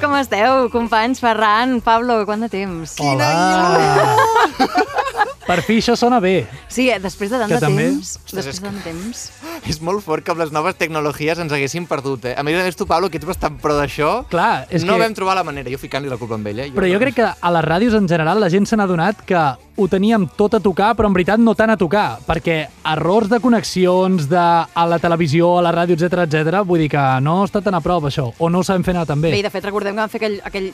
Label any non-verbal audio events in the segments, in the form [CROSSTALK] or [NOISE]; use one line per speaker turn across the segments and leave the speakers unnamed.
com esteu, companys? Ferran, Pablo, quant de temps?
Oh. Hola! [LAUGHS] Per fi això sona bé.
Sí, eh, després de tant
Que
de
també-
temps. Després de tant de temps.
És molt fort que amb les noves tecnologies ens haguessin perdut, eh? A més, a més, tu, Pablo, que ets bastant pro d'això,
Clar, és
no
que...
vam trobar la manera, jo ficant-li la culpa a ell, eh?
Però jo crec que a les ràdios en general la gent se n'ha adonat que ho teníem tot a tocar, però en veritat no tant a tocar, perquè errors de connexions de, a la televisió, a la ràdio, etc etc. vull dir que no està tan a prop això, o no ho sabem fer anar tan bé.
Bé, i de fet recordem que van fer aquell, aquell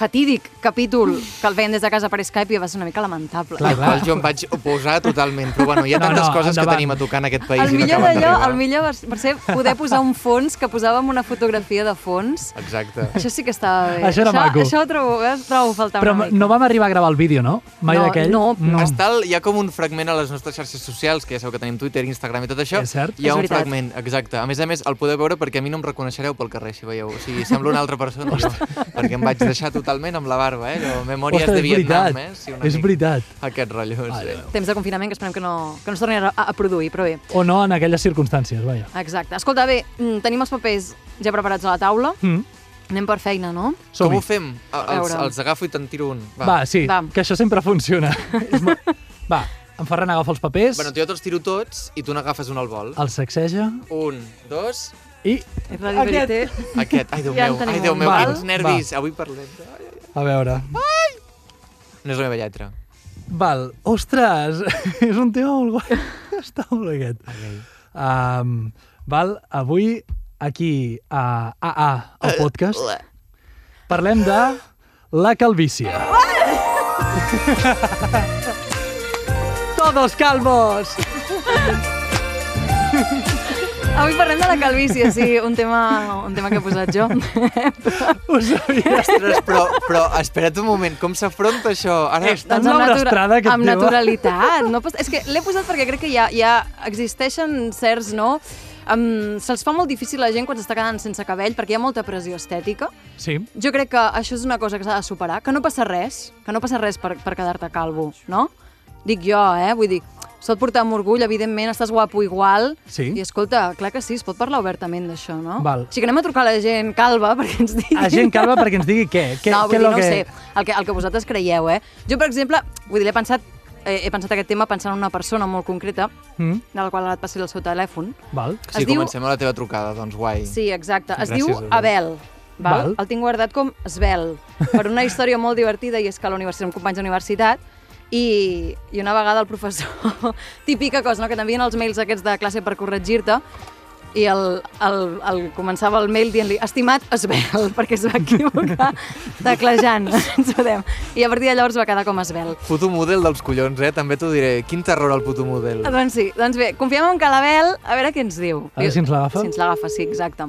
fatídic capítol que el veien des de casa per Skype i va ser una mica lamentable.
Clar,
Al qual jo em vaig oposar totalment, però bueno, hi ha
No,
tantes
no,
coses
endavant.
que tenim a tocar en aquest país
El
i no
millor
acaben
d'allò,
d'arribar.
el millor va va ser poder posar un fons que posàvem una fotografia de fons.
Exacte.
Això sí que estava bé.
Això era
això,
maco.
Això ho trobo, eh, ho trobo faltant
Però
una mica.
no vam arribar a gravar el vídeo, no? Mai
No,
d'aquell?
no, no.
Està el, hi ha com un fragment a les nostres xarxes socials, que ja sabeu que tenim Twitter, Instagram i tot això.
És cert.
Hi
És
ha un
veritat.
fragment, exacte. A més a més, el podeu veure perquè a mi no em reconeixereu pel carrer, si veieu. O sigui, semblo una altra persona, jo, perquè em vaig deixar totalment amb la barba, eh? Allò, memòries
Ostres,
de
és
Vietnam,
veritat.
eh? Sí, una
és
mica.
veritat.
Aquest rotllo, sí.
Temps de confinament que esperem que no, que no es torni a, a produir, però bé.
O no en aquelles circumstàncies, vaja.
Exacte. Escolta, bé, mm, tenim els papers ja preparats a la taula.
Mm.
Anem per feina, no?
Com
Som-hi.
ho fem? A-
A
Els,
veure.
els agafo i te'n tiro un.
Va, sí,
Va.
que això
[LAUGHS]
sempre funciona. És mo- va, en Ferran agafa els papers,
Bueno, jo te'ls tiro tots i tu n'agafes un al vol.
el sacseja
Un, dos,
i...
Aquest.
aquest. Ai, Déu
Ja en
meu,
tenim
ai, Déu
un.
meu,
Va,
quins nervis. Avui parlem. Ai, ai,
A veure...
ai. No és la meva lletra.
Val, ostres, [LAUGHS] és un tema molt guai. [LAUGHS] Està molt aquest. Um, val, avui aquí a AA, el podcast, parlem de
[LAUGHS]
la calvície. Todos
[LAUGHS]
calvos!
Avui parlem de la calvície, sí, un tema, un tema que he posat [LAUGHS] jo.
Ho sabia.
Ostres, però, però espera't un moment, com s'afronta això? Ara,
Està en Laura Estrada, aquest
amb
tema.
naturalitat. No pas... És que l'he posat perquè crec que ja, ja existeixen certs, no? Um, Se'ls fa molt difícil a la gent quan s'està quedant sense cabell perquè hi ha molta pressió estètica.
Sí,
Jo crec que això és una cosa que s'ha de superar, que no passa res, que no passa res per, per quedar-te calvo, no? Dic jo, eh? Vull dir, s'ha de portar amb orgull, evidentment, estàs guapo igual.
Sí.
I escolta, clar que sí, es pot parlar obertament d'això, no?
Val.
O sigui, que anem a trucar a la gent calva [LAUGHS] perquè ens digui...
a gent calva perquè ens digui què. què
no, vull
què
dir,
lo
no
que...
ho sé, el que, el que vosaltres creieu, eh? Jo, per exemple, vull dir, l'he pensat, eh, he pensat aquest tema pensant en una persona molt concreta,
Mm,
de la qual ara et passi el seu telèfon.
val.
Si
es diu-
comencem amb la teva trucada, doncs guai.
Sí, exacte. Es
Gràcies,
diu
Abel.
Abel. Val?
Val.
El tinc guardat com Svel, per una història molt divertida, i és que a la universitat, amb companys de universitat, i, i una vegada el professor, [LAUGHS] típica cosa, no? que t'envien els mails aquests de classe per corregir-te, i el, el, el, començava el mail dient-li estimat Esbel, [LAUGHS] perquè es va equivocar teclejant, [LAUGHS] ens podem. I a partir de llavors va quedar com Esbel.
Puto model dels collons, eh? També t'ho diré. Quin terror el puto model.
Doncs sí, doncs bé, confiem en Calabel, a veure què ens diu.
A veure si ens l'agafa.
Si ens l'agafa, sí, exacte.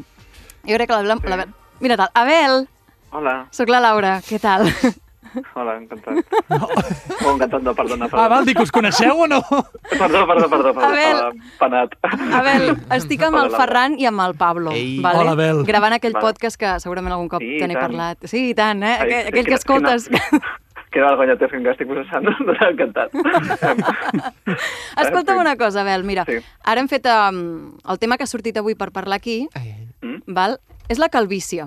Jo crec que l'Abel... Sí. Mira tal, Abel,
Hola,
sóc la Laura, què
[LAUGHS]
tal?
hola, encantat. Oh, encantat, no, perdona, perdona.
Ah, val, dic, us coneixeu o no?
Perdó, perdó, perdó, perdó,
Abel.
estava penat.
Abel, estic amb
Hola,
el
Laura.
Ferran i amb el Pablo.
Ei.
vale?
Hola, Abel.
Gravant aquell
Vale.
podcast que segurament algun cop
Sí,
te n'he
i tant.
parlat. Sí, i tant, eh? Aquell,
Ai,
aquell que
quina-
escoltes...
[LAUGHS] Que vergonya té fins que estic processant, no t'ha encantat. [LAUGHS]
Escolta'm
Sí.
una cosa, Abel, mira.
Sí.
Ara hem fet um, el tema que ha sortit avui per parlar aquí,
Ai, ai.
Mm.
val? és la calvície.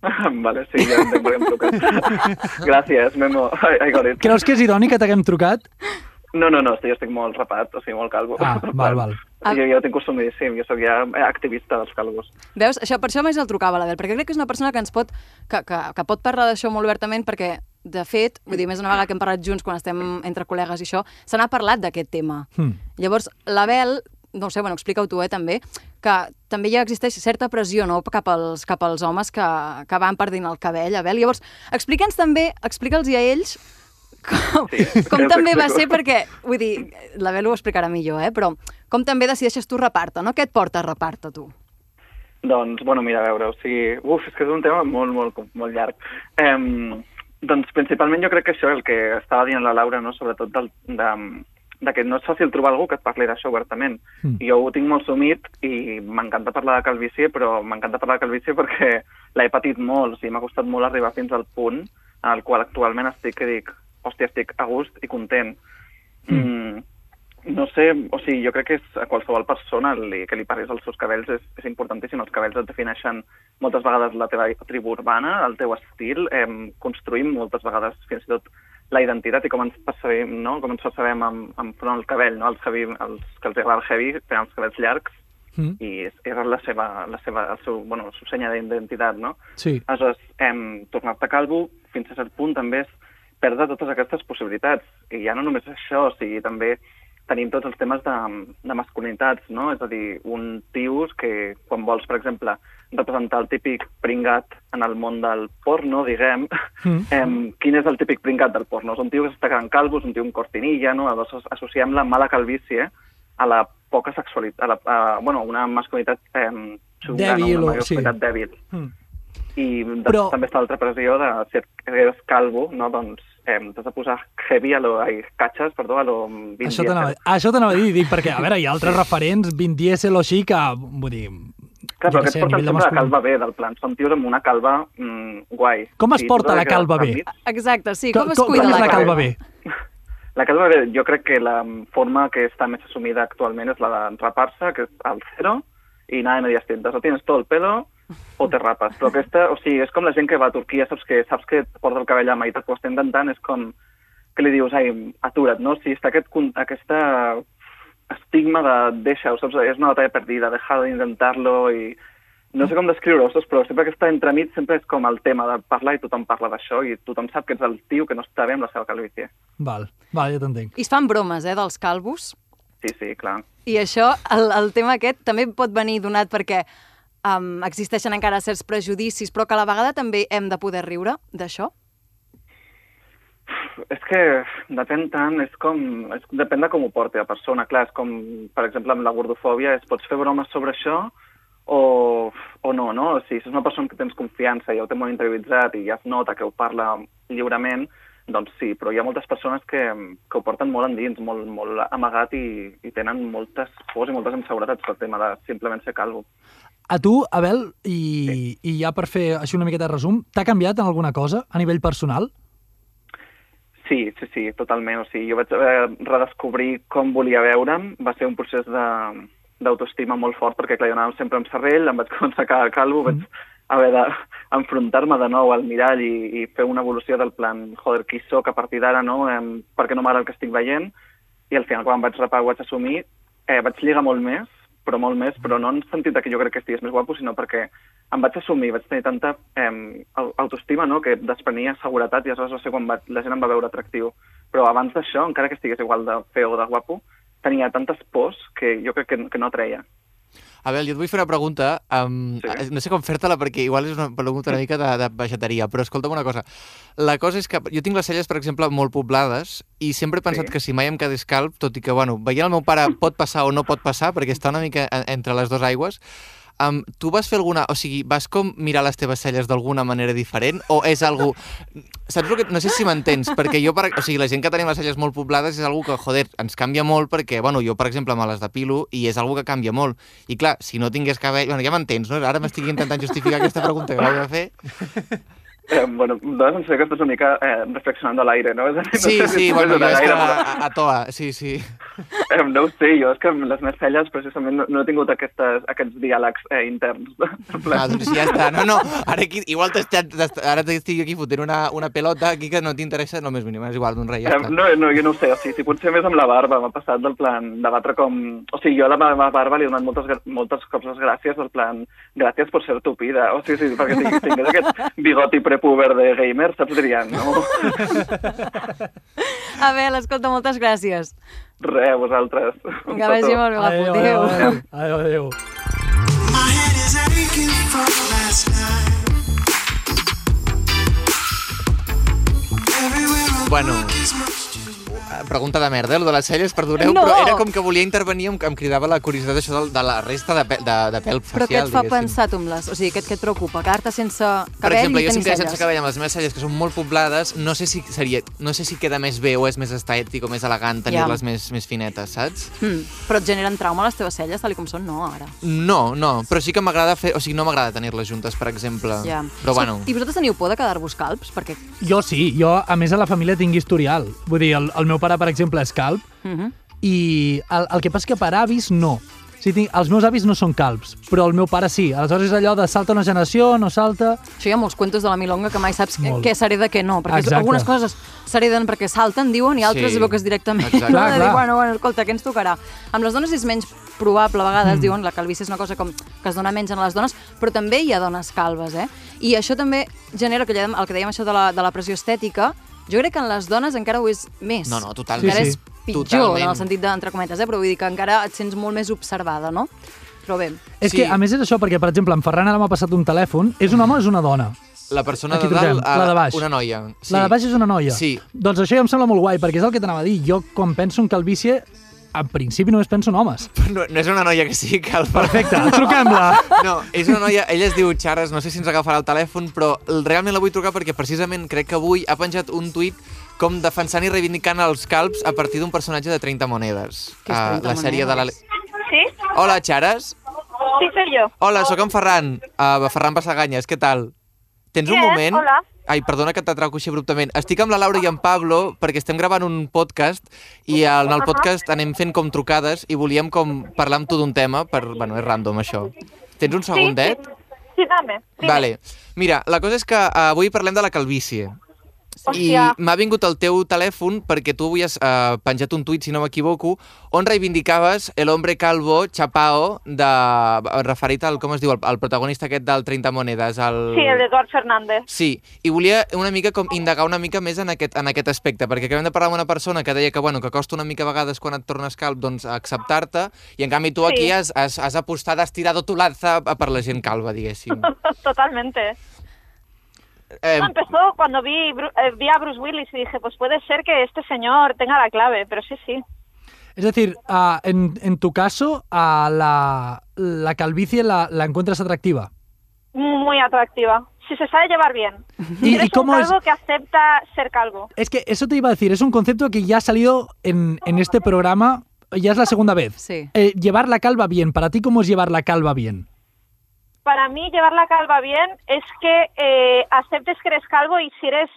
vale, sí, ja entenc per què em truques. Gràcies, Memo. Ai, ai, Gorit.
Creus que és irònic que t'haguem trucat?
No, no, no, estic, estic molt rapat, o sigui, molt calvo.
Ah, val, val.
Ah.
Jo, jo ho tinc costumíssim, jo soc ja eh, activista dels calvos.
Veus? Això, per això més el trucava l'Abel, perquè crec que és una persona que ens pot, que, que, que pot parlar d'això molt obertament, perquè, de fet, vull dir, més una vegada que hem parlat junts quan estem entre col·legues i això, se n'ha parlat d'aquest tema.
Mm.
Llavors, l'Abel, no ho sé, bueno, explica-ho tu, eh, també, que també ja existeix certa pressió no, cap, als, cap als homes que, que van perdint el cabell, Abel. Llavors, explica'ns també, explica'ls i a ells com,
Sí,
com
ja us
també va
explico.
ser, perquè, vull dir, l'Abel ho explicarà millor, eh, però com també decideixes tu repar-te, no? Què et porta a repar-te, tu?
Doncs, bueno, mira, a veure, o sigui... Uf, és que és un tema molt, molt, com- molt llarg. Em, doncs, principalment jo crec que això, el que estava dient la Laura, no? sobretot del, de, de que no és fàcil trobar algú que et parli d'això obertament.
Mm.
Jo ho tinc molt sumit i m'encanta parlar de calvície, però m'encanta parlar de calvície perquè l'he patit molt, o sigui, m'ha costat molt arribar fins al punt en el qual actualment estic que dic, hòstia, estic a gust i content. Mm. no sé, o sigui, jo crec que és a qualsevol persona li, que li parlis dels seus cabells és, és importantíssim. Els cabells et defineixen moltes vegades la teva tribu urbana, el teu estil, eh, construïm moltes vegades fins i tot la identitat i com ens percebem, no? com ens percebem amb, amb front al cabell. No? Els, heavy, els que els agrada el heavy tenen els cabells llargs
Mm.
i és, és la seva, la seva, el seu, bueno, el seu senya d'identitat, no?
Sí.
Aleshores, em, tornar-te calvo fins a cert punt també és perdre totes aquestes possibilitats. I ja no només això, o sigui, també tenim tots els temes de, de masculinitats, no? És a dir, un tio que quan vols, per exemple, representar el típic pringat en el món del porno, diguem,
Mm.
mm. [LAUGHS] em, quin és el típic pringat del porno? És un tio que s'està quedant calvo, és un tio amb cortinilla, no? Aleshores, associem la mala calvície a la poca sexualitat, a la, a, bueno, una masculinitat em, xunga,
Dèbil
no?
o- sí.
una masculinitat sí. dèbil.
Mm.
I
Però-
Però... també està l'altra pressió de si et eres calvo, no? doncs eh, t'has de posar heavy a lo... Ai, catxes, perdó, a lo... mm, Vin
Això
Diesel.
t'anava ah, això t'anava a dir, dic, perquè, a veure, hi ha altres referents, Vin Diesel o així, que, vull dir... jo
Clar, però
què
aquests
sé, a
porten
nivell
sempre la
masculin-
calva bé, del plan. Són tios amb una calva mm, guai.
Com es
I
porta
tot
la
que-
calva bé?
enmig-
Exacte, sí. Com,
Com,
es cuida
com és
la,
la calva
calva?
bé?
La calva bé, jo crec que la forma que està més assumida actualment és la de rapar-se, que és al zero, i anar de medias tintes. O tienes tot el pelo o te rapes. Però aquesta, o sigui, és com la gent que va a Turquia, saps que, saps que et porta el cabell a meitat, ho estem intentant, és com que li dius, ai, atura't, no? O sigui, està aquest, con- aquesta estigma de deixa-ho, saps? És una batalla perdida, deja d'intentar-lo i... No sé com descriure-ho, saps? Però sempre que està entremig sempre és com el tema de parlar i tothom parla d'això i tothom sap que ets el tio que no està bé amb la seva calvície.
Val, val, ja t'entenc.
I es fan bromes, eh, dels calvos.
Sí, sí, clar.
I això, el, el tema aquest, també pot venir donat perquè um, existeixen encara certs prejudicis, però que a la vegada també hem de poder riure d'això.
És que depèn tant, és com... És, depèn de com ho porti la persona. Clar, és com, per exemple, amb la gordofòbia, és pots fer bromes sobre això o, o no, no? O sigui, si és una persona que tens confiança i ja ho té molt interioritzat i ja es nota que ho parla lliurement, doncs sí, però hi ha moltes persones que, que ho porten molt endins, molt, molt amagat i, i tenen moltes pors i moltes inseguretats pel tema de simplement ser calvo.
A tu, Abel, i, i ja per fer així una miqueta de resum, t'ha canviat en alguna cosa a nivell personal?
Sí, sí, sí, totalment. O sigui, jo vaig eh, redescobrir com volia veure'm. Va ser un procés de- d'autoestima molt fort, perquè clar, jo anàvem sempre amb serrell, em vaig [LAUGHS] començar a quedar calvo, vaig haver d'enfrontar-me de nou al mirall i, i fer una evolució del plan, joder, qui sóc a partir d'ara, no? Em, per què no m'agrada el que estic veient? I al final, quan em vaig rapar, ho vaig assumir, eh, vaig lligar molt més, però molt més, però no en sentit de que jo crec que estigués més guapo, sinó perquè em vaig assumir, vaig tenir tanta eh, autoestima, no?, que desprenia seguretat i aleshores va ser quan va, la gent em va veure atractiu. Però abans d'això, encara que estigués igual de feo o de guapo, tenia tantes pors que jo crec que, que no treia.
Abel, jo et vull fer una pregunta, um,
Sí.
no sé com fer-te-la perquè igual és una pregunta una mica de, de vegetaria, però escolta'm una cosa, la cosa és que jo tinc les celles, per exemple, molt poblades i sempre he pensat
Sí.
que si mai em quedés calb, tot i que, bueno, veient el meu pare pot passar o no pot passar, perquè està una mica en- entre les dues aigües, um, tu vas fer alguna... O sigui, vas com mirar les teves celles d'alguna manera diferent o és algo... Saps el que... No sé si m'entens, perquè jo... Per... O sigui, la gent que tenim les celles molt poblades és algo que, joder, ens canvia molt perquè, bueno, jo, per exemple, me les depilo i és algo que canvia molt. I clar, si no tingués cabell... Bueno, ja m'entens, no? Ara m'estic intentant justificar aquesta pregunta que vaig a fer.
Eh, bueno, doncs em sé que estàs una mica eh, reflexionant a l'aire, no? [LAUGHS] És a dir, no
Sí,
sé si
sí,
estàs
bueno, jo
reflexionant
és que
gaire, però-
a, a toa, sí, sí.
Em, No ho sé, jo és que amb les meves celles precisament no, no he tingut aquestes, aquests diàlegs eh, interns. [LAUGHS] En
Ah,
plan,
doncs ja està. No, no, ara aquí, igual t'estic t'est- ara estic aquí fotent una, una pelota aquí que no t'interessa en lo més mínim, és igual, d'un rei, ja
em,
està.
no, no, jo no ho sé, o sigui, si potser més amb la barba, m'ha passat del plan debatre com... O sigui, jo a la meva barba li he donat moltes, gra- moltes cops les gràcies del plan gràcies per ser tupida, o sigui, sí, perquè
[LAUGHS]
si tingués aquest bigoti prepuber de gamer, saps, dirien, no?
Abel, escolta, moltes gràcies.
Re, a vosaltres. Un
Que vagi
petó.
molt bé, guapo.
adéu,
Adéu.
adéu, adéu, adéu.
My head is aching for last night. Everywhere I
Bueno. eh,
look is much too bright.
Pregunta de merda, lo de les celles, perdoneu,
No!
però era com que volia intervenir, em, em cridava la curiositat això de, de la resta de, pe, de, de pèl facial,
Però què et fa
diguéssim.
pensar tu amb les... O sigui, què, què et preocupa? Quedar-te sense cabell
Per exemple,
i
jo si em
tenir
quedés sense
celles?
cabell amb les meves celles, que són molt poblades, no sé si seria, no sé si queda més bé o és més estètic o més elegant tenir-les
Ja.
més, més finetes, saps?
Mm, però et generen trauma les teves celles, tal i com són? No, ara.
No, no, però sí que m'agrada fer... O sigui, no m'agrada tenir-les juntes, per exemple.
Ja.
Ah. Però bueno...
I vosaltres teniu por de quedar-vos calps? Perquè...
Jo sí, jo, a més, a la família tinc historial. Vull dir, el, el meu pare, per exemple, és calp,
Uh -huh.
I el, el que passa és que per avis no. O sigui, tinc, els meus avis no són calbs, però el meu pare sí. Aleshores és allò de salta una generació, no salta...
Això hi ha molts cuentos de la milonga que mai saps
Molt.
Molt. què seré de què no, perquè
Exacte.
Exacte. algunes coses s'hereden perquè salten, diuen, i altres
Sí.
sí. boques directament.
Exacte.
No?
Clar,
de
clar.
dir, bueno, bueno, escolta, què ens tocarà? Amb les dones és menys probable, a vegades mm. diuen, la calvície és una cosa com que es dona menys en les dones, però també hi ha dones calbes, eh? I això també genera, que dèiem, el que dèiem això de la, de la pressió estètica, jo crec que en les dones encara ho és més.
No, no, totalment.
Encara
Sí, sí.
és pitjor,
Totalment.
en el sentit d'entre cometes, eh? però vull dir que encara et sents molt més observada, no? Però bé,
És
Sí.
que, a més, és això, perquè, per exemple, en Ferran ara m'ha passat un telèfon. És un home o és una dona?
La persona
Aquí
de dalt,
truquem, la de baix.
una noia. Sí.
La de baix és una noia.
Sí.
Doncs això ja em sembla molt guai, perquè és el que t'anava a dir. Jo, quan penso en calvície, en principi només penso en homes.
[LAUGHS] No, no és una noia que sigui calba.
[LAUGHS] Perfecte,
[LAUGHS]
truquem-la.
No, és una noia, ella es diu Charas, no sé si ens agafarà el telèfon, però realment la vull trucar perquè precisament crec que avui ha penjat un tuit com defensant i reivindicant els calps a partir d'un personatge de 30 monedes.
Què és
Ah,
30
la sèrie
monedes?
de
¿Sí?
la... Hola, Charas.
Sí, soy yo.
Hola, sóc en Ferran. Uh, Ferran Passaganyes, què tal? Tens un
Què?
moment?
Hola.
Ai, perdona que t'atraco així abruptament. Estic amb la Laura i en Pablo perquè estem gravant un podcast i en el podcast anem fent com trucades i volíem com parlar amb tu d'un tema per... Bueno, és random, això. Tens un
Sí,
segundet?
sí. Sí, dame. dime.
Vale. Mira, la cosa és que eh, avui parlem de la calvície.
Hòstia.
I m'ha vingut el teu telèfon perquè tu avui has eh, penjat un tuit, si no m'equivoco, on reivindicaves el hombre calvo chapao de... referit al, com es diu, al, al protagonista aquest del 30 monedes, el...
Sí, el Eduard Fernández.
Sí, i volia una mica com indagar una mica més en aquest, en aquest aspecte, perquè acabem de parlar amb una persona que deia que, bueno, que costa una mica a vegades quan et tornes calb doncs, acceptar-te, i en canvi tu aquí
Sí.
has, has, has apostat, has tirat tu lanza per la gent calva, diguéssim.
[LAUGHS] Totalmente.
Eh,
No, empezó cuando vi, Bru- eh, vi a Bruce Willis y dije, pues puede ser que este señor tenga la clave, pero sí, sí.
Es decir, ah, en, en tu caso, a la, la calvicie la, la encuentras atractiva.
Muy atractiva. Si se sabe llevar bien.
¿Y,
Eres
y cómo
un
es?
calvo que acepta ser calvo.
Es que eso te iba a decir, es un concepto que ya ha salido en, en este programa, ya es la segunda vez.
Sí.
Eh, llevar la calva bien, para ti, ¿cómo es llevar la calva bien?
Para mí, llevar la calva bien es que eh, aceptes que eres calvo y si eres...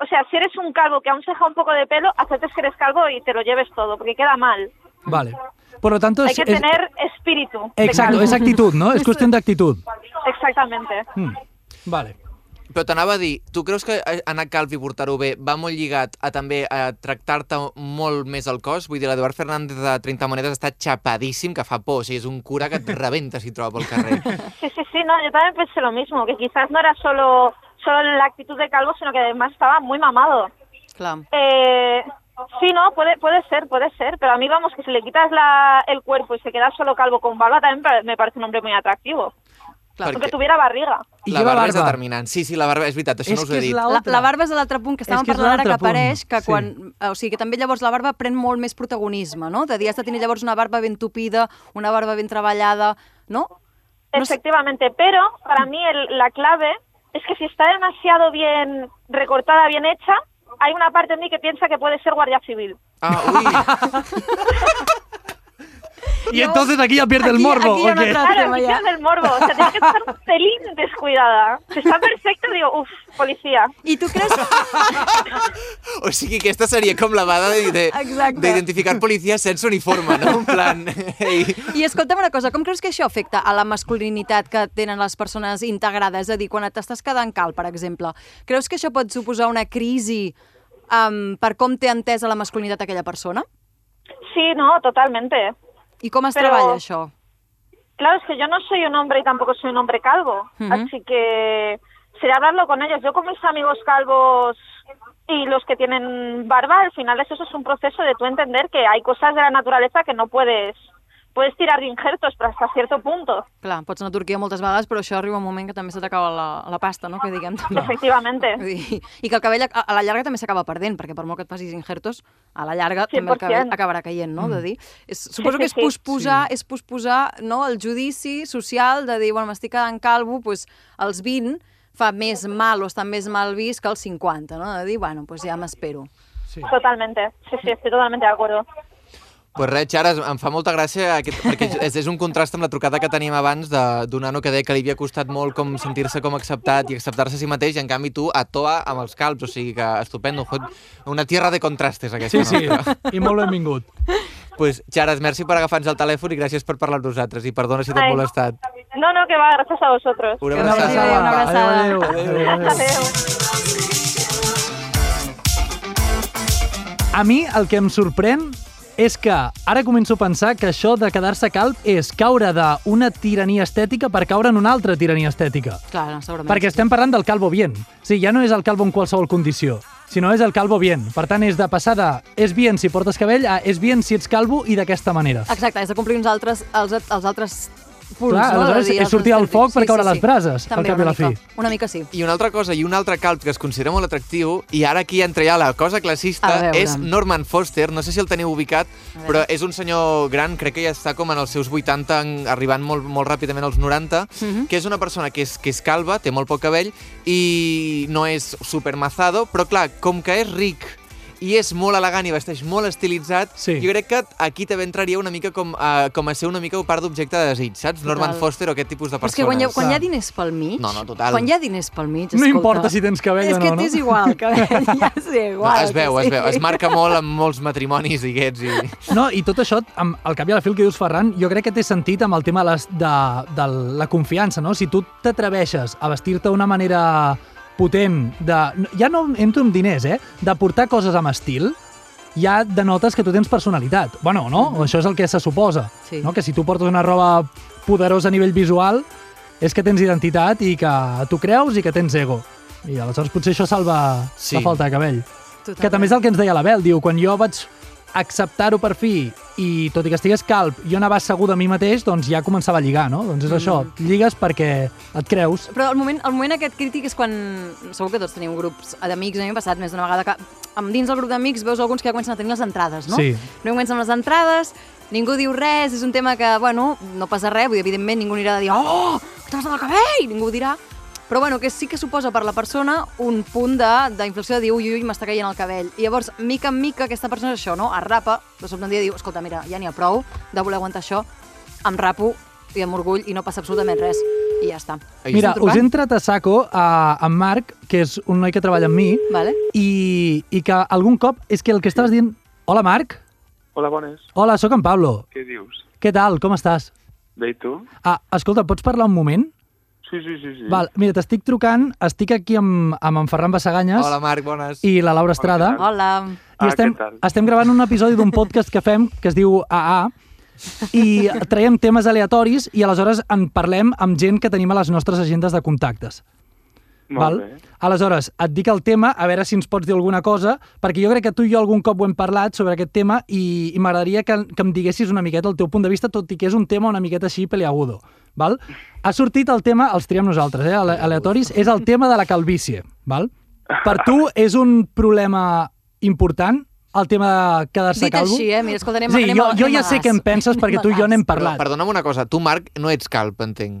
O sea, si eres un calvo que aún se deja un poco de pelo, aceptes que eres calvo y te lo lleves todo, porque queda mal.
Vale. Por lo tanto,
Hay
es,
que
es-
tener espíritu. de
exacto,
calvo.
es actitud, ¿no? Es cuestión de actitud.
Exactamente.
Mm, Vale.
Però t'anava a dir, tu creus que eh, anar calb i portar-ho bé va molt lligat a també a tractar-te molt més el cos? Vull dir, l'Eduard Fernández de 30 Monedes està xapadíssim, que fa por, o sigui, és un cura que et rebenta si et troba pel
[LAUGHS]
carrer.
Sí, sí, sí, no, yo también pensé lo mismo, que quizás no era solo, solo la actitud de calvo, sino que además estaba muy mamado.
clar.
Eh, sí, no, puede, puede ser, puede ser, pero a mí vamos, que si le quitas la, el cuerpo y se queda solo calvo con barba, también pa- me parece un hombre muy atractivo.
Clar,
Aunque tuviera barriga.
I
la
lleva
barba, és
barba.
determinant. Sí, sí, la barba, és veritat, això
És
no us
que
ho he
és
dit.
la
La,
Altra.
la barba és l'altre punt que estàvem
És que és
parlant ara que
l'altre punt,
apareix, que
sí.
quan, o sigui, que també llavors la barba pren molt més protagonisme, no? De dir, has de tenir llavors una barba ben tupida, una barba ben treballada, no? No sé-
Efectivamente, pero para mí el- la clave es que si está demasiado bien recortada, bien hecha, hay una parte en mí que piensa que puede ser guardia civil.
Ah,
[LAUGHS]
ui,
Y entonces aquí ya pierde el
Aquí-
morbo.
aquí ya
¿o
no
qué?
entra-
Claro,
tema
el
ya.
vicio Ah, del morbo. O sea, tienes que estar un pelín descuidada. Si está perfecto, digo, uff, policía.
I tu creus... [LAUGHS]
o sigui, aquesta seria com la vada de- de-
Exacte.
d'identificar policies sense uniforme, no? En
[LAUGHS]
plan, ei...
I escolta'm una cosa, com creus que això afecta a la masculinitat que tenen les persones integrades? És a dir, quan t'estàs quedant cal, per exemple, creus que això pot suposar una crisi um, per com té entesa la masculinitat aquella persona?
Sí, no, totalmente.
I com es
Però-
treballa això?
Claro, es que yo no soy un hombre y tampoco soy un hombre calvo.
Ujú.
Así que sería hablarlo con ellos. Yo con mis amigos calvos y los que tienen barba, al final eso, eso es un proceso de tú entender que hay cosas de la naturaleza que no puedes... Puedes tirar de injertos, pero hasta cierto punto,
Clar, pots anar a Turquia moltes vegades, però això arriba un moment que també se t'acaba la, la pasta, no? Que diguem també.
efectivamente.
Vull dir, I que el cabell a, a la llarga també s'acaba perdent, perquè per molt que et facis injertos, a la llarga també el
100%.
cabell acabarà caient, no?
Mm.
De dir, és, suposo que és
sí, sí.
posposar, és posposar no, el judici social de dir, bueno, m'estic quedant calvo, doncs els 20 fa més mal o està més mal vist que els 50, no? De dir, bueno, doncs ja m'espero.
Sí.
Totalmente. Sí, sí, estoy totalmente de acuerdo.
Pues res, Xares, em fa molta gràcia aquest, perquè és, és un contrast amb la trucada que teníem abans de- d'un nano que deia que li havia costat molt com sentir-se com acceptat i acceptar-se a si mateix i en canvi tu a toa amb els calbs,
[LAUGHS]
o sigui que estupendo, jod, una tierra de contrastes aquesta.
Sí, sí,
nostra.
i molt benvingut.
pues, Charas, merci per agafar-nos el telèfon i gràcies per parlar amb nosaltres i perdona si t'hem
Ai.
molestat.
No, no, que va, gracias a vosotros.
Una
Que vagi
abraçada.
bé, una abraçada.
Adéu, adéu, adéu.
Adeu.
A mi el que em sorprèn és que ara començo a pensar que això de quedar-se calb és caure d'una tirania estètica per caure en una altra tirania estètica.
Clar, no, segurament.
Perquè estem parlant del calvo bien. O sigui, ja no és el calvo en qualsevol condició, sinó és el calvo bien. Per tant, és de passar de és bien si portes cabell a és bien si ets calvo i d'aquesta manera.
Exacte, és de complir uns altres, els, els altres punts.
Clar,
no?
aleshores
De dir,
és
els
sortir al
altres
foc
sentits.
per caure a les brases,
També,
al cap i a
una
la fi.
mica. Una mica sí.
I una altra cosa, i un altre calb que es considera molt atractiu, i ara aquí entra ja la cosa
A
classista,
veure.
és Norman Foster, no sé si el teniu ubicat, però és un senyor gran, crec que ja està com en els seus 80, en- arribant molt, molt ràpidament als 90,
Mhm.
que és una persona que és, que és calva, té molt poc cabell, i no és supermazado, però clar, com que és ric i és molt elegant i vesteix molt estilitzat,
Sí.
jo crec que aquí també entraria una mica com a, com a ser una mica part d'objecte de desig, saps? Norman Foster o aquest tipus de
Però
persones.
és que quan hi, ha, quan hi ha
Clar.
diners pel mig...
No, no, total.
Quan hi ha diners pel mig,
No
escolta...
importa si tens cabell
és
o
que [LAUGHS]
no, no?
t'és igual, el cabell, ja sé, igual.
es veu,
que
es
sí.
veu. Es marca molt amb molts matrimonis, diguets, i... [LAUGHS]
No, i tot això, amb, al cap i a la fi, el que dius, Ferran, jo crec que té sentit amb el tema de, les- de, de la confiança, no? Si tu t'atreveixes a vestir-te d'una manera potent, de, no- ja no entro amb diners, eh? De portar coses amb estil, ja denotes que tu tens personalitat. Bueno, no? Mm -hmm. Això és el que se suposa.
Mm-hmm. Sí.
No? Que si tu portes una roba poderosa a nivell visual, és que tens identitat i que tu creus i que tens ego. I aleshores potser això salva sí.
Sí.
la falta de cabell.
Totalment.
Que també és el que ens deia l'Abel, diu, quan jo vaig acceptar-ho per fi i tot i que estigués calb, jo anava segur de mi mateix, doncs ja començava a lligar, no? Doncs és mm. això, lligues perquè et creus.
Però el moment, el moment aquest crític és quan... Segur que tots tenim grups eh, d'amics, a mi m'ha passat més d'una vegada que amb dins del grup d'amics veus alguns que ja comencen a tenir les entrades, no?
Sí.
No comencen amb les entrades, ningú diu res, és un tema que, bueno, no passa res, vull dir, evidentment ningú anirà a dir «Oh, que t'has del cabell!» Ningú ho dirà. Però bueno, que sí que suposa per la persona un punt de- d'inflexió de, de dir «Ui, ui, ui, m'està caient el cabell». I llavors, mica en mica, aquesta persona és això, no? Es rapa, de sobte un dia diu «Escolta, mira, ja n'hi ha prou de voler aguantar això, em rapo i amb orgull i no passa absolutament res». I ja està.
Ai,
Mira,
estem
us he
trucant?
entrat a saco a, a en Marc, que és un noi que treballa amb mi,
Vale?
i, i que algun cop és que el que estaves dient... Hola, Marc.
Hola, bones.
Hola, sóc en Pablo.
Què dius?
Què tal? Com estàs?
Bé, i tu?
Ah, escolta, pots parlar un moment?
Sí, sí, sí.
Mm.
sí.
Val, mira, t'estic trucant, estic aquí amb, amb en Ferran Bassaganyes
Hola, Marc, bones. I...
i la Laura Estrada.
què tal?
Hola.
I
Ah,
estem,
què tal?
estem gravant un episodi d'un podcast que fem que es diu AA i traiem temes aleatoris i aleshores en parlem amb gent que tenim a les nostres agendes de contactes.
Molt bé.
Aleshores, et dic el tema, a veure si ens pots dir alguna cosa, perquè jo crec que tu i jo algun cop ho hem parlat sobre aquest tema i, i m'agradaria que, que em diguessis una miqueta el teu punt de vista, tot i que és un tema una miqueta així peleagudo. Val? Ha sortit el tema, els triem nosaltres, eh, ale- aleatoris, és el tema de la calvície. Val? Per tu és un problema important el tema de quedar-se
Dit
calvo?
així, eh? Mira, escolta, anem,
sí,
anem,
jo,
a-
jo
anem
ja
a
sé
gas.
què en penses perquè tu i jo
Anem a
n'hem
gas.
parlat.
Perdona'm una cosa, tu, Marc, no ets calp, entenc.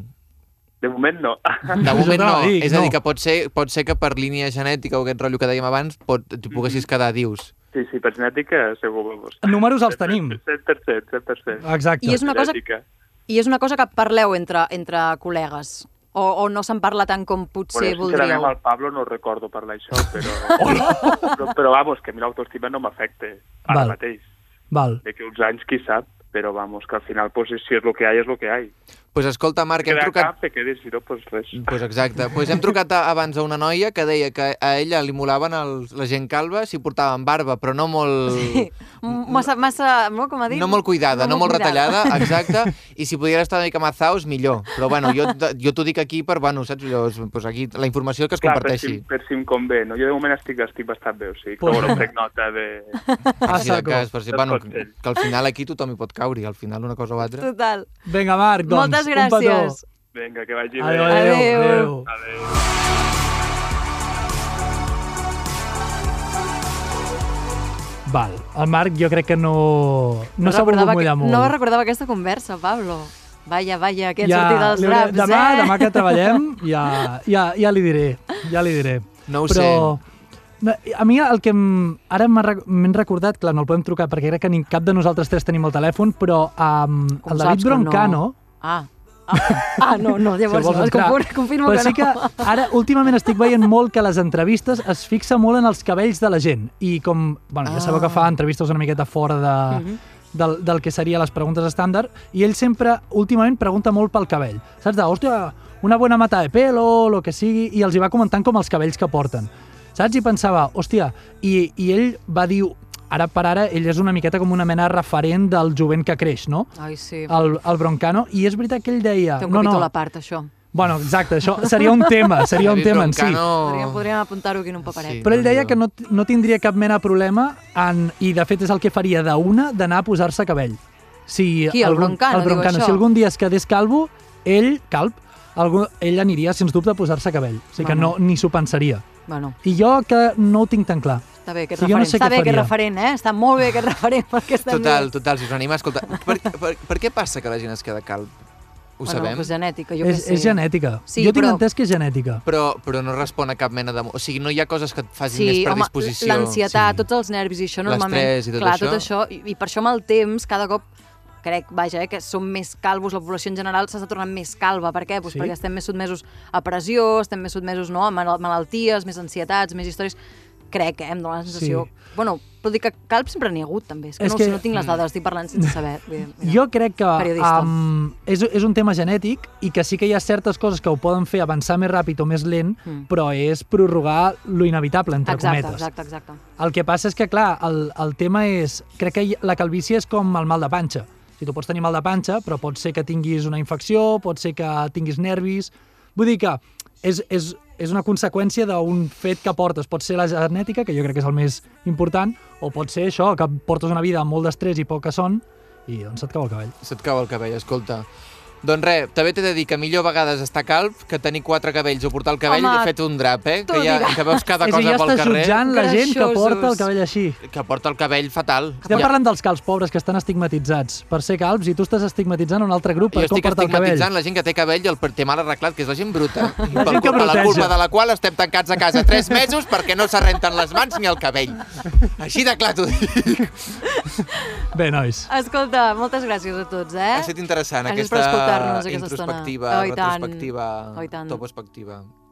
De moment no. [LAUGHS]
De
Jo
moment
te la
no.
dic,
és a
no.
dir, que pot ser, pot ser que per línia genètica o aquest rotllo que dèiem abans pot, t'hi poguessis quedar, dius.
sí, sí, per genètica segur, vamos.
Números els tenim.
100%, 100%.
Exacte.
I Ah. és una cosa,
Genètica.
I és una cosa que parleu entre, entre col·legues? O, o no se'n parla tant com potser
Bueno, sincerament,
voldríeu?
amb el Pablo no recordo parlar això, però... però, però vamos, que a mi l'autoestima no m'afecta ara
Val.
mateix.
Val.
De que uns anys, qui sap, però vamos, que al final, pues, si és el que hi ha, és el que hi ha.
Pues escolta, Marc, hem
Queda
trucat... Mm,
cap, te quedes, si no, pues res.
Pues exacte. Pues hem trucat a, abans a una noia que deia que a ella li molaven els, la gent calva si portaven barba, però no molt... Sí.
M- Massa, massa, no, com a dit?
No molt cuidada, no, molt
cuidada.
[LAUGHS] retallada, exacte, i si pudiera estar una mica mazaos, millor. Però bueno, jo, jo t'ho dic aquí per, bueno, saps, allò, pues aquí la informació que es
Clar, per
comparteixi.
si, per si em convé, no? Jo de moment estic, estic bastant bé, o sigui, que
Pues-
bueno, prec nota de,
Ah,
A
Així Ah, de
saco.
cas, per si,
Tot
bueno,
pot ser.
que al final aquí tothom hi pot caure, i al final una cosa o altra.
Total.
Vinga, Marc, doncs,
Moltes
un petó.
gràcies.
Vinga, que vagi
Adéu,
bé.
adéu,
Adéu.
adéu.
Adéu.
Val, el Marc jo crec que no, no s'ha volgut
recordava que-
mullar molt.
No recordava aquesta conversa, Pablo. Vaya, vaya, que han ja, sortit els
li hauré-
draps,
demà,
eh?
demà que
[LAUGHS]
treballem ja, ja, ja li diré, ja li diré.
No ho
Però, sé. A mi el que em, ara m'ha rec- m'hem recordat, clar, no el podem trucar perquè crec que ni cap de nosaltres tres tenim el telèfon, però um,
Com
el
saps
David
que no?
Broncano... [LAUGHS]
Ah. Ah, ah, no, no, llavors
vols
no,
entrar.
confirmo, confirmo
però
que no.
sí que ara últimament estic veient molt que les entrevistes es
Ah. Mhm.
fixa molt en els cabells de la gent i com, bueno, ja sabeu que fa entrevistes una miqueta fora de, del, del que seria les preguntes estàndard, i ell sempre, últimament, pregunta molt pel cabell. Saps de, hòstia, una bona mata de pelo, lo que sigui, i els hi va comentant com els cabells que porten. Saps? I pensava, hòstia, i, i ell va dir, ara per ara, ell és una miqueta com una mena referent del jovent que creix, no?
Ai, sí.
El, el Broncano, i és veritat que ell deia...
Té un
Ah, no, no,
capítol a part, això.
Bueno, exacte, això seria un tema, seria un tema en si. Oh.
Podríem, podríem apuntar-ho aquí en un paperet.
Sí.
Però ell deia que no, t- no tindria cap mena de problema en, i de fet és el que faria d'una d'anar a posar-se cabell. Si
Qui, el
algun-
Broncano,
el
diu
broncano.
això?
Si algun dia es quedés calvo, ell, calp, algú, ell aniria, sens dubte, a posar-se cabell. O sigui que no,
Bueno.
ni s'ho pensaria.
Bueno,
I jo que no ho tinc tan clar.
està bé aquest
Sí, jo no
referent.
sé
està
què
bé aquest
faria.
referent, eh? Està molt bé aquest referent perquè estem
Total,
bé.
total, si us anima, escolta, per, per, per què passa que la gent es queda calb? Ho
bueno,
sabem?
Pues genètica, jo
és,
que sé.
és genètica.
Sí,
jo tinc
però-
entès que és genètica.
Però, però no respon a cap mena de... O sigui, no hi ha coses que et facin
Sí,
més
home,
predisposició.
l'ansietat, tots els nervis i això normalment...
L'estrès i tot
clar,
això.
tot això. I, I per això amb el temps, cada cop crec, vaja, eh, que som més calvos, la població en general s'està tornant més calva. Per què? Pues
Sí?
Perquè estem més sotmesos a pressió, estem més sotmesos no, a mal- malalties, més ansietats, més històries. Crec, eh, em dóna la sensació...
Sí.
Bueno, però dic que calb sempre n'hi ha hagut, també. És que,
És
no, ho
que-
sé, no
Mm.
tinc les dades, estic parlant sense saber. Vull dir, mira.
Jo crec que
Periodista.
um, és, és un tema genètic i que sí que hi ha certes coses que ho poden fer avançar més ràpid o més lent,
Mm.
mm. però és prorrogar lo inevitable, entre
Exacte,
cometes.
exacte, exacte.
El que passa és que, clar, el, el tema és... Crec que hi- la calvície és com el mal de panxa. Si tu pots tenir mal de panxa, però pot ser que tinguis una infecció, pot ser que tinguis nervis... Vull dir que és, és, és una conseqüència d'un fet que portes. Pot ser la genètica, que jo crec que és el més important, o pot ser això, que portes una vida amb molt d'estrès i poca son, i on se't cau el cabell.
Se't cau el cabell, escolta. Doncs res, també t'he de dir que millor a vegades estar calb que tenir quatre cabells o portar el cabell
Home,
fet un drap, eh?
tu
Que, ja,
diràs.
que veus cada
és a dir,
cosa
ja
pel
estàs
carrer
jutjant la gent que
Greixosos.
porta el cabell així.
que porta el cabell fatal.
Estem
Ja-
parlant dels calbs pobres que estan estigmatitzats per ser calbs i tu estàs estigmatitzant un altre grup per
jo
com
estic
porta el cabell.
estigmatitzant la gent que té cabell i el per- té mal arreglat, que és la gent bruta. La,
gent que
culpa, la
bruteja.
culpa de la qual estem tancats a casa tres mesos perquè no se renten les mans ni el cabell. Així de clar t'ho dic.
Bé, nois.
Escolta, moltes gràcies a tots, eh?
Ha estat interessant
Gràcies per
aquesta
escoltar-nos aquesta estona.
introspectiva,
Oh, i tant.
retrospectiva,
Oh, i tant.
topospectiva.